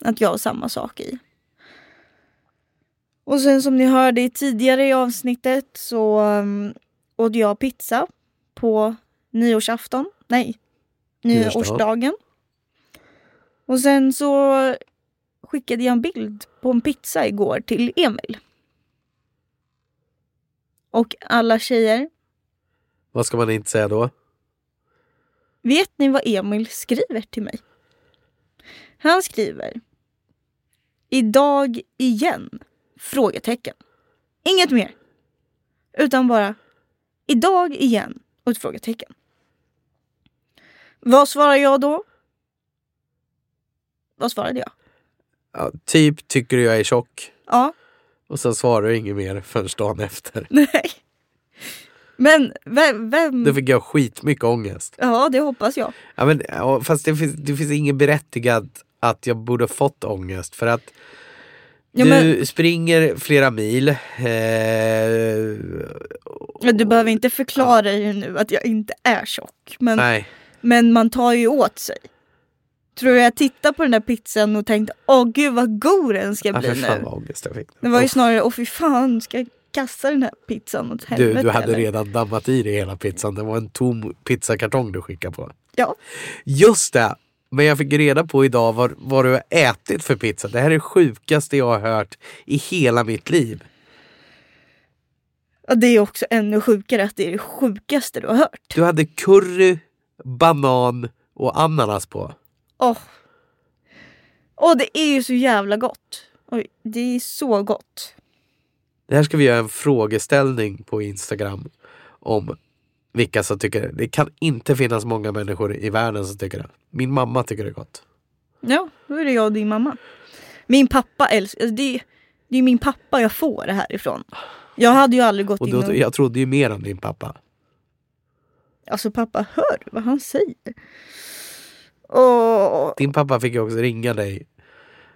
Speaker 1: Att jag har samma sak i. Och sen som ni hörde i tidigare i avsnittet så um, åt jag pizza på nyårsafton. Nej,
Speaker 2: Nyårsdag.
Speaker 1: nyårsdagen. Och sen så skickade jag en bild på en pizza igår till Emil. Och alla tjejer,
Speaker 2: Vad ska man inte säga då?
Speaker 1: Vet ni vad Emil skriver till mig? Han skriver Idag igen? Frågetecken. Inget mer. Utan bara Idag igen? Och ett frågetecken. Vad svarar jag då? Vad svarade jag?
Speaker 2: Ja, typ tycker du jag är tjock
Speaker 1: Ja,
Speaker 2: och sen svarar du inget mer förrän dagen efter.
Speaker 1: nej. Men vem... vem?
Speaker 2: Då fick jag skitmycket ångest.
Speaker 1: Ja, det hoppas jag.
Speaker 2: Ja, men, ja, fast det finns, det finns inget berättigat att jag borde ha fått ångest för att
Speaker 1: Ja,
Speaker 2: du
Speaker 1: men-
Speaker 2: springer flera mil. Eh,
Speaker 1: Men Du behöver inte förklara ju nu att jag inte är tjock. Men,
Speaker 2: nej,
Speaker 1: men man tar ju åt sig. Tror du jag tittade på den där pizzan och tänkte åh gud vad god den ska
Speaker 2: ja,
Speaker 1: bli
Speaker 2: för fan
Speaker 1: nu.
Speaker 2: vad ångest jag fick.
Speaker 1: Det var ju
Speaker 2: Uff,
Speaker 1: snarare åh fy fan ska jag kasta den här pizzan åt helvete.
Speaker 2: du, du hade
Speaker 1: eller?"
Speaker 2: redan dammat i dig hela pizzan. Det var en tom pizzakartong du skickade på.
Speaker 1: Ja.
Speaker 2: Just det! Men jag fick reda på idag vad, vad du har ätit för pizza. Det här är det sjukaste jag har hört i hela mitt liv.
Speaker 1: ja. Det är också ännu sjukare att det är det sjukaste du har hört.
Speaker 2: Du hade curry, banan och ananas på.
Speaker 1: Åh. Åh det är ju så jävla gott. Oj, det är så gott.
Speaker 2: Det här ska vi göra en frågeställning på Instagram om vilka som tycker det. Det kan inte finnas många människor i världen som tycker det. Min mamma tycker det är gott.
Speaker 1: Ja, då är det jag och din mamma. Min pappa älskar... Alltså det, är- det är min pappa jag får det här ifrån. Jag hade ju aldrig gått
Speaker 2: Och
Speaker 1: in och...
Speaker 2: då, jag trodde ju mer om din pappa.
Speaker 1: Alltså pappa, hör du vad han säger? Åh...
Speaker 2: Din pappa fick ju också ringa dig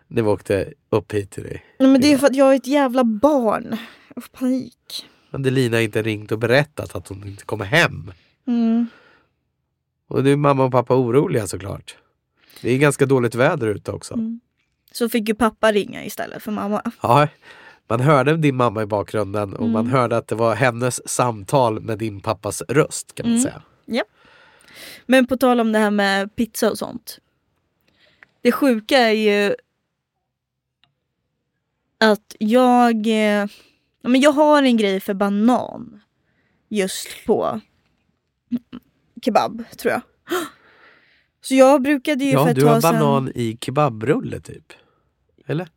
Speaker 2: när vi åkte upp hit till dig.
Speaker 1: Nej, men det är för att jag är ett jävla barn. Jag får panik.
Speaker 2: Hade Lina inte ringt och berättat att hon inte kommer hem.
Speaker 1: Mm.
Speaker 2: Och nu är mamma och pappa oroliga såklart. Det är ganska dåligt väder ute också.
Speaker 1: Mm. Så fick ju pappa ringa istället för mamma.
Speaker 2: Ja, man hörde din mamma i bakgrunden och man
Speaker 1: Mm.
Speaker 2: hörde att det var hennes samtal med din pappas röst kan man
Speaker 1: Mm.
Speaker 2: säga.
Speaker 1: Men på tal om det här med pizza och sånt. Det sjuka är ju att jag, eh, ja, men jag har en grej för banan just på kebab tror jag. *gasps* Så jag brukade ju för
Speaker 2: Ja,
Speaker 1: ett
Speaker 2: du har
Speaker 1: tag sedan-
Speaker 2: banan i kebabrulle typ. Eller?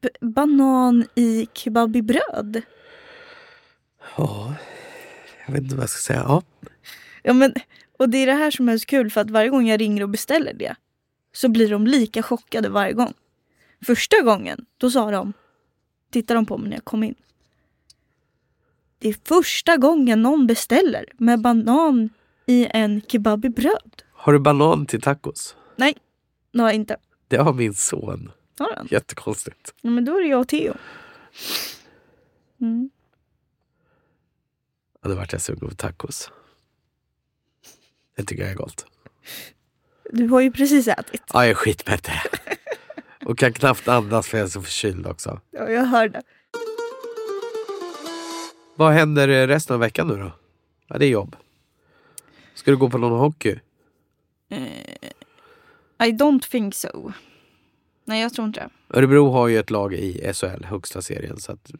Speaker 1: B- banan i kebab i bröd.
Speaker 2: Ja, jag vet inte vad jag ska säga. Ja.
Speaker 1: Ja, men, och det är det här som är så kul för att varje gång jag ringer och beställer det så blir de lika chockade varje gång. Första gången, då sa de, tittade de på mig när jag kom in. Det är första gången någon beställer med banan i en kebab i bröd.
Speaker 2: Har du banan till tacos?
Speaker 1: Nej, inte.
Speaker 2: Det har min son.
Speaker 1: Har den?
Speaker 2: Jättekonstigt.
Speaker 1: Ja, men då är det jag och Theo. Mm.
Speaker 2: Ja, då vart jag sugen på tacos. Det tycker jag är gott.
Speaker 1: Du har ju precis ätit.
Speaker 2: Ja, jag är skitmätt. Och kan knappt andas för jag är så förkyld också.
Speaker 1: Ja, jag hörde.
Speaker 2: Vad händer eh, resten av veckan nu då? Ja, det är jobb. Ska du gå på någon hockey?
Speaker 1: I don't think so. Nej, jag tror inte det.
Speaker 2: Örebro har ju ett lag i SHL, högsta serien. Så att, eh,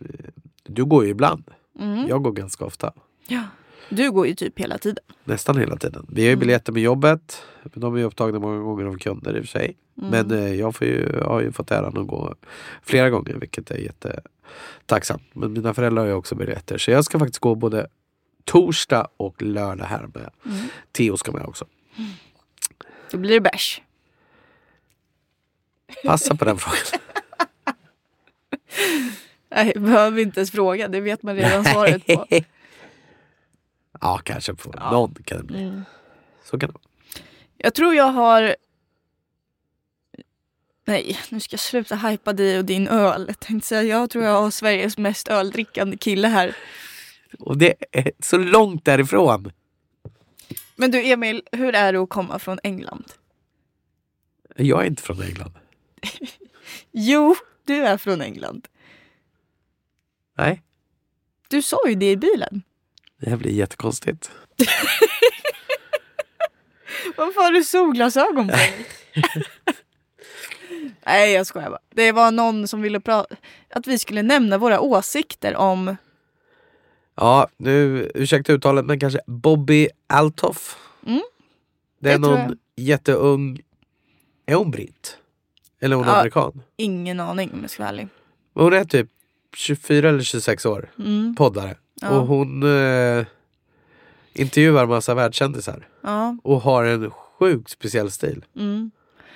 Speaker 2: du går ju ibland.
Speaker 1: Mm.
Speaker 2: Jag går ganska ofta.
Speaker 1: Ja. Du går ju typ hela tiden.
Speaker 2: Nästan hela tiden. Vi har ju
Speaker 1: Mm.
Speaker 2: biljetter med jobbet. Men de är ju upptagna många gånger av kunder i och för sig.
Speaker 1: Mm.
Speaker 2: Men eh, jag, får ju, jag har ju fått äran att gå flera gånger vilket är jättetacksamt. Men mina föräldrar har ju också biljetter. Så jag ska faktiskt gå både torsdag och lördag här med.
Speaker 1: Mm.
Speaker 2: Theo ska med också.
Speaker 1: Då blir det bärs.
Speaker 2: Passa på den frågan.
Speaker 3: Nej, behöver inte ens fråga. Det vet man redan svaret på.
Speaker 2: *laughs* Ja, kanske på någon kan det bli.
Speaker 1: Mm.
Speaker 2: Så kan det vara.
Speaker 3: Jag tror jag har... Nej, nu ska jag sluta hypa dig och din öl. Jag tänkte säga, jag tror jag har Sveriges mest öldrickande kille här.
Speaker 2: Och det är så långt därifrån.
Speaker 3: Men du Emil, hur är det att komma från England?
Speaker 2: Jag är inte från England.
Speaker 3: Jo, du är från England.
Speaker 2: Nej,
Speaker 3: Du sa ju det i bilen.
Speaker 2: det här blir jättekonstigt.
Speaker 3: Varför har du solglasögon på
Speaker 1: *laughs*
Speaker 3: dig? Nej, jag skojar bara. Det var någon som ville prata... Att vi skulle nämna våra åsikter om...
Speaker 2: Ja, nu ursäkta uttalet men kanske Bobby Altoff.
Speaker 3: Mm.
Speaker 2: Det är
Speaker 1: Det tror
Speaker 2: någon jätteung... Är hon britt? Eller är hon
Speaker 1: Ja.
Speaker 2: amerikan?
Speaker 1: Ingen aning om jag ska vara ärlig.
Speaker 2: Men Hon är typ 24 eller 26 år,
Speaker 1: Mm.
Speaker 2: poddare.
Speaker 1: Ja.
Speaker 2: Och hon eh, intervjuar massa världskändisar.
Speaker 1: Ja,
Speaker 2: Och har en sjukt speciell stil.
Speaker 1: mm,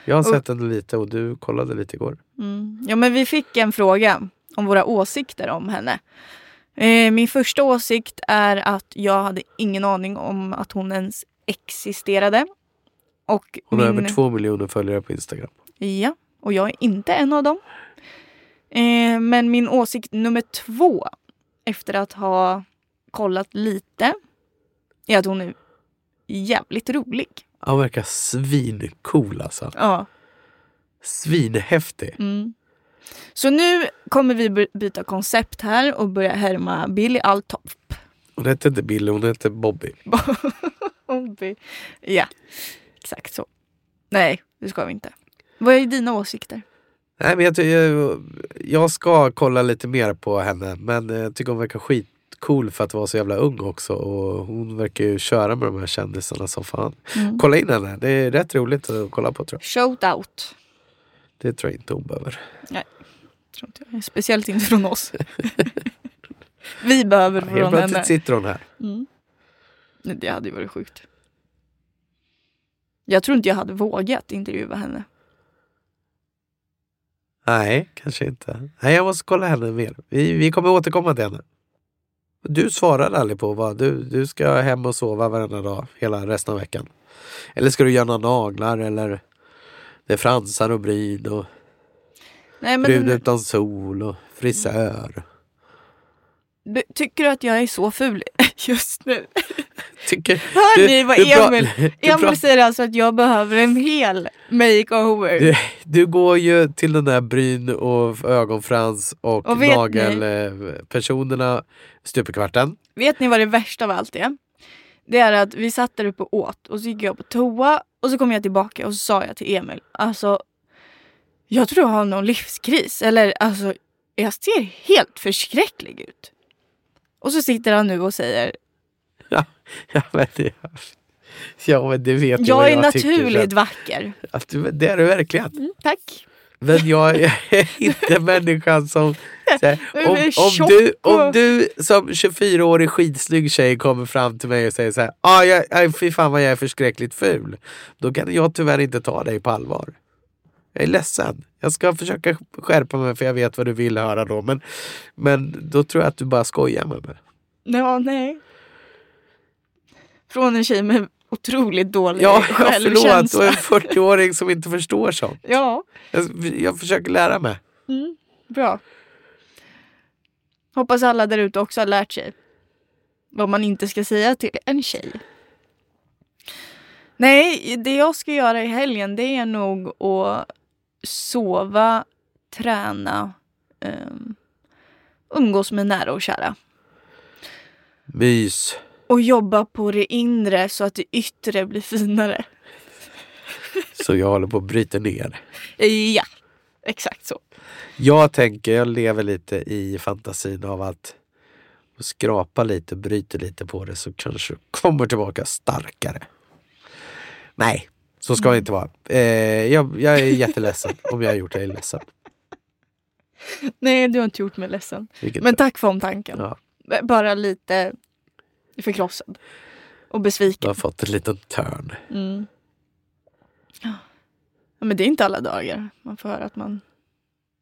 Speaker 2: Jag har
Speaker 1: Och-
Speaker 2: sett henne lite och du kollade lite igår.
Speaker 1: mm. ja, men vi fick en fråga om våra åsikter om henne. Eh, min första åsikt är att jag hade ingen aning om att hon ens existerade. Och
Speaker 2: Hon har
Speaker 1: min-
Speaker 2: över två miljoner följare på Instagram.
Speaker 1: Ja, och jag är inte en av dem. Eh, men min åsikt nummer två, efter att ha kollat lite, är att hon är jävligt rolig.
Speaker 2: Han verkar svincool alltså.
Speaker 1: Ja.
Speaker 2: Svinhäftig.
Speaker 1: Mm. Så nu kommer vi by- byta koncept här och börja härma Billy Altoff.
Speaker 2: Hon hette inte Billy, hon hette Bobby.
Speaker 1: Bobby. Ja, exakt så. Nej, det ska vi inte. Vad är dina åsikter?
Speaker 2: Nej, men jag, ty- jag- jag ska kolla lite mer på henne, men eh, jag tycker hon verkar skitcool för att vara så jävla ung också. Och hon verkar ju köra med de här kändisarna som fan.
Speaker 1: Mm.
Speaker 2: Kolla in henne, det är rätt roligt att kolla på tror jag.
Speaker 1: Shout out.
Speaker 2: Det tror jag inte hon behöver.
Speaker 1: Tror inte jag. Speciellt inte från oss. vi behöver
Speaker 2: Helt
Speaker 1: från henne.
Speaker 2: plötsligt sitter hon här.
Speaker 1: Mm. Nej, Det hade ju varit sjukt. Jag tror inte jag hade vågat intervjua henne.
Speaker 2: Nej, kanske inte. Nej, jag måste kolla henne mer. Vi, vi kommer återkomma till henne. Du svarar aldrig på vad du, du ska hem och sova varenda dag hela resten av veckan. Eller ska du göra några naglar eller det är fransar och bryn och
Speaker 1: Nej, men
Speaker 2: Brud utan sol och frisör.
Speaker 1: B- Tycker du att jag är så ful *laughs* just nu?
Speaker 2: Tycker,
Speaker 1: Hör ni vad
Speaker 2: du pra-
Speaker 1: Emil...
Speaker 2: *laughs* du,
Speaker 1: Emil
Speaker 2: pra-
Speaker 1: säger alltså att jag behöver en hel makeover.
Speaker 2: Du- du går ju till den där bryn och ögonfrans och,
Speaker 1: Och vet ni-
Speaker 2: nagelpersonerna stup i kvarten. *laughs*
Speaker 1: Vet ni vad det värsta av allt är? Det är att vi satt där uppe och åt och så gick jag på toa och så kom jag tillbaka och så sa jag till Emil, alltså jag tror jag har någon livskris eller alltså jag ser helt förskräcklig ut. Och så sitter han nu och säger,
Speaker 2: Ja men det, ja, men det vet ju
Speaker 1: jag
Speaker 2: vad
Speaker 1: är
Speaker 2: tycker,
Speaker 1: naturligt vacker.
Speaker 2: så Att, att, du- det är du verkligen.
Speaker 1: Mm, tack.
Speaker 2: Men jag är *laughs* inte människan som... Så här,
Speaker 1: Men
Speaker 2: om,
Speaker 1: du är
Speaker 2: om,
Speaker 1: tjock
Speaker 2: du, om
Speaker 1: och-
Speaker 2: du som 24-årig skitsnygg tjej kommer fram till mig och säger så här, ah, jag, aj, fy fan vad jag är förskräckligt ful. Då kan jag tyvärr inte ta dig på allvar. Jag är ledsen. Jag ska försöka skärpa mig för jag vet vad du vill höra då. Men, men då tror jag att du bara skojar med mig.
Speaker 1: Ja, nej. Från en tjej med otroligt dålig
Speaker 2: Ja, ja förlåt.
Speaker 1: självkänsla.
Speaker 2: Och en 40-åring som inte förstår sånt.
Speaker 1: Ja,
Speaker 2: Jag, jag försöker lära mig.
Speaker 1: mm, bra. Hoppas alla där ute också har lärt sig vad man inte ska säga till en tjej. Nej, det jag ska göra i helgen det är nog att sova, träna, um, umgås med nära och kära.
Speaker 2: Mys.
Speaker 1: Och jobba på det inre så att det yttre blir finare.
Speaker 2: Så jag håller på att bryta ner.
Speaker 1: Ja, exakt så.
Speaker 2: Jag tänker, jag lever lite i fantasin av att skrapa lite, bryter lite på det så kanske du kommer tillbaka starkare. Nej, så ska det inte vara. Eh, jag, jag är jätteledsen om jag har gjort dig ledsen.
Speaker 1: Nej, du har inte gjort mig ledsen.
Speaker 2: Vilket,
Speaker 1: Men tack för omtanken.
Speaker 2: ja,
Speaker 1: B- Bara lite förkrossad. Och
Speaker 2: du
Speaker 1: besviken.
Speaker 2: har fått en liten törn.
Speaker 1: Mm. Ja, men det är inte alla dagar man får höra att man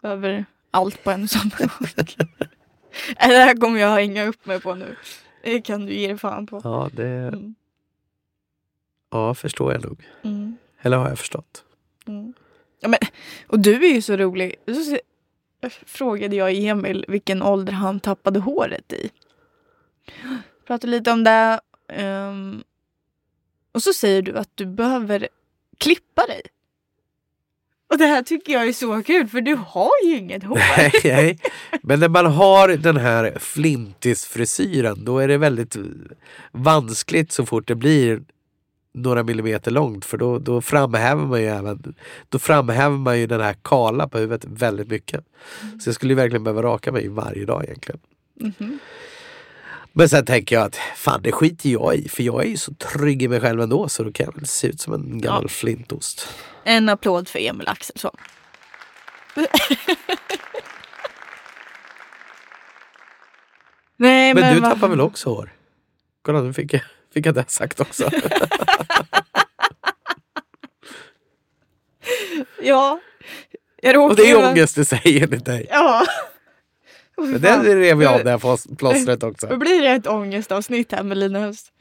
Speaker 1: behöver allt på en och *laughs* samma gång. Nej, Det här kommer jag hänga upp mig på nu. Det kan du ge dig fan på.
Speaker 2: Ja, det
Speaker 1: Mm.
Speaker 2: ja, förstår jag nog.
Speaker 1: Mm.
Speaker 2: Eller har jag förstått?
Speaker 1: Mm. Ja, men, och du är ju så rolig. Så se- frågade jag Emil vilken ålder han tappade håret i. Pratade lite om det. ehm, och så säger du att du behöver klippa dig. Och det här tycker jag är så kul för du har ju inget
Speaker 2: *laughs*
Speaker 1: hår. *laughs*
Speaker 2: Nej, men när man har den här flintisfrisyren då är det väldigt vanskligt så fort det blir några millimeter långt för då, då framhäver man ju även då framhäver man ju den här kala på huvudet
Speaker 1: Mm.
Speaker 2: väldigt mycket. Så jag skulle ju verkligen behöva raka mig varje dag egentligen.
Speaker 1: Mhm.
Speaker 2: Men sen tänker jag att fan det skiter jag i för jag är ju så trygg i mig själv ändå så då kan jag väl se ut som en gammal
Speaker 1: Ja.
Speaker 2: flintost.
Speaker 1: En applåd för Emil *laughs* Axelsson. Nej,
Speaker 2: Men,
Speaker 1: men,
Speaker 2: du
Speaker 1: vad-
Speaker 2: tappar väl också hår? Kolla nu fick jag, fick jag det
Speaker 1: *laughs*
Speaker 2: sagt också.
Speaker 1: Ja. Jag
Speaker 2: Och det är ju
Speaker 1: råkade-
Speaker 2: ångest i sig enligt dig.
Speaker 1: Ja. Åh, fy
Speaker 2: Men
Speaker 1: fan.
Speaker 2: den rev jag av det
Speaker 1: *laughs*
Speaker 2: här plås- plåstret
Speaker 1: Det
Speaker 2: också.
Speaker 1: blir det ett ångestavsnitt här med Lina Höst.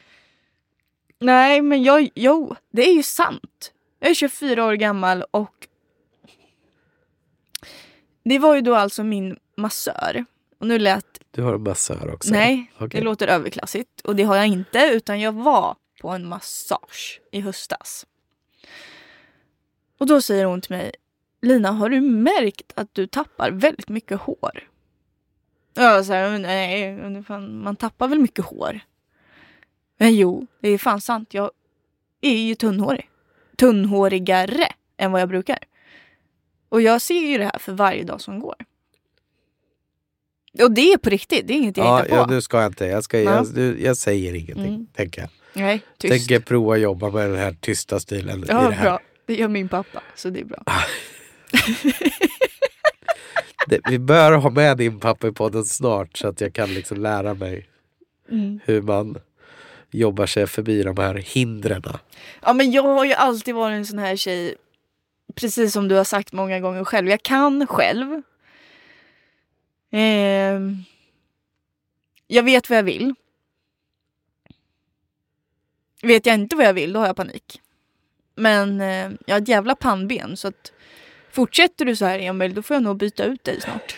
Speaker 1: Nej, men jag, jo, det är ju sant. Jag är 24 år gammal och det var ju då alltså min massör. Och nu lät
Speaker 2: Du har en massör också.
Speaker 1: Nej,
Speaker 2: Okej.
Speaker 1: det låter överklassigt. Och det har jag inte, utan jag var på en massage i höstas. Och då säger hon till mig, Lina har du märkt att du tappar väldigt mycket hår? Och jag säger, nej, men fan, man tappar väl mycket hår? Men jo, det är fan sant. Jag är ju tunnhårig. Tunnhårigare än vad jag brukar. Och jag ser ju det här för varje dag som går. Och det är på riktigt, det är inget jag
Speaker 2: Ja,
Speaker 1: hittar på.
Speaker 2: ja, nu ska jag inte. Jag, ska,
Speaker 1: Ja.
Speaker 2: jag, du- jag säger ingenting,
Speaker 1: Mm.
Speaker 2: tänker jag.
Speaker 1: Nej, tyst.
Speaker 2: Tänker prova jobba med den här tysta stilen i
Speaker 1: ja,
Speaker 2: det här.
Speaker 1: bra. Det gör min pappa, så det är bra.
Speaker 2: Det, vi bör ha med din pappa i podden snart så att jag kan liksom lära mig
Speaker 1: Mm.
Speaker 2: hur man jobbar sig förbi de här hindren.
Speaker 1: Ja, men jag har ju alltid varit en sån här tjej, precis som du har sagt många gånger själv. Jag kan själv. Ehm, jag vet vad jag vill. Vet jag inte vad jag vill, då har jag panik. Men eh, jag har ett jävla pannben, så att fortsätter du så här, Emil, då får jag nog byta ut dig snart.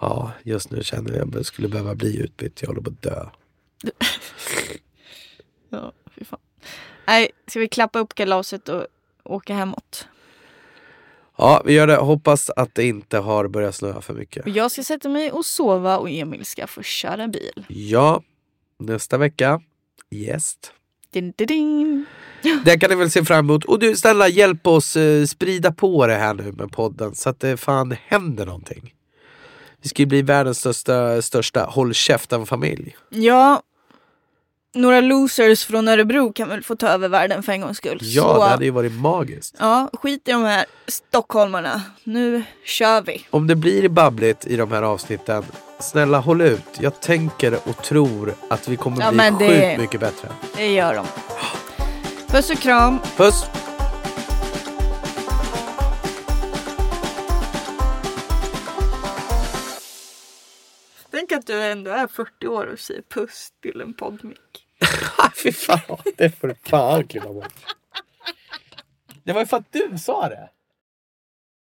Speaker 2: Ja, just nu känner jag att jag skulle behöva bli utbytt. Jag håller på att dö.
Speaker 1: Ja, fy fan. Nej, ska vi klappa upp kalaset och åka hemåt?
Speaker 2: Ja, vi gör det. Hoppas att det inte har börjat snöa för mycket.
Speaker 1: Och Jag ska sätta mig och sova och Emil ska få köra bil.
Speaker 2: Ja, nästa vecka. Gäst.
Speaker 1: Din, din, din.
Speaker 2: Det kan ni väl se fram emot. Och du, snälla hjälp oss eh, sprida på det här nu med podden så att det fan händer någonting. Vi ska ju bli världens största, största håll käften-familj.
Speaker 1: Ja, några losers från Örebro kan väl få ta över världen för en gångs skull.
Speaker 2: Ja,
Speaker 1: Så,
Speaker 2: det hade ju varit magiskt.
Speaker 1: ja skit i de här stockholmarna. Nu kör vi.
Speaker 2: Om det blir babbligt i de här avsnitten, snälla håll ut. Jag tänker och tror att vi kommer
Speaker 1: Ja,
Speaker 2: bli
Speaker 1: men det-
Speaker 2: sjukt mycket bättre.
Speaker 1: Det gör de. Puss och kram.
Speaker 2: Puss! *laughs*
Speaker 1: Tänk att du ändå är 40 år och säger puss till en poddmick.
Speaker 2: Fy fan, det får du fan klippa bort. Det var ju för att du sa det.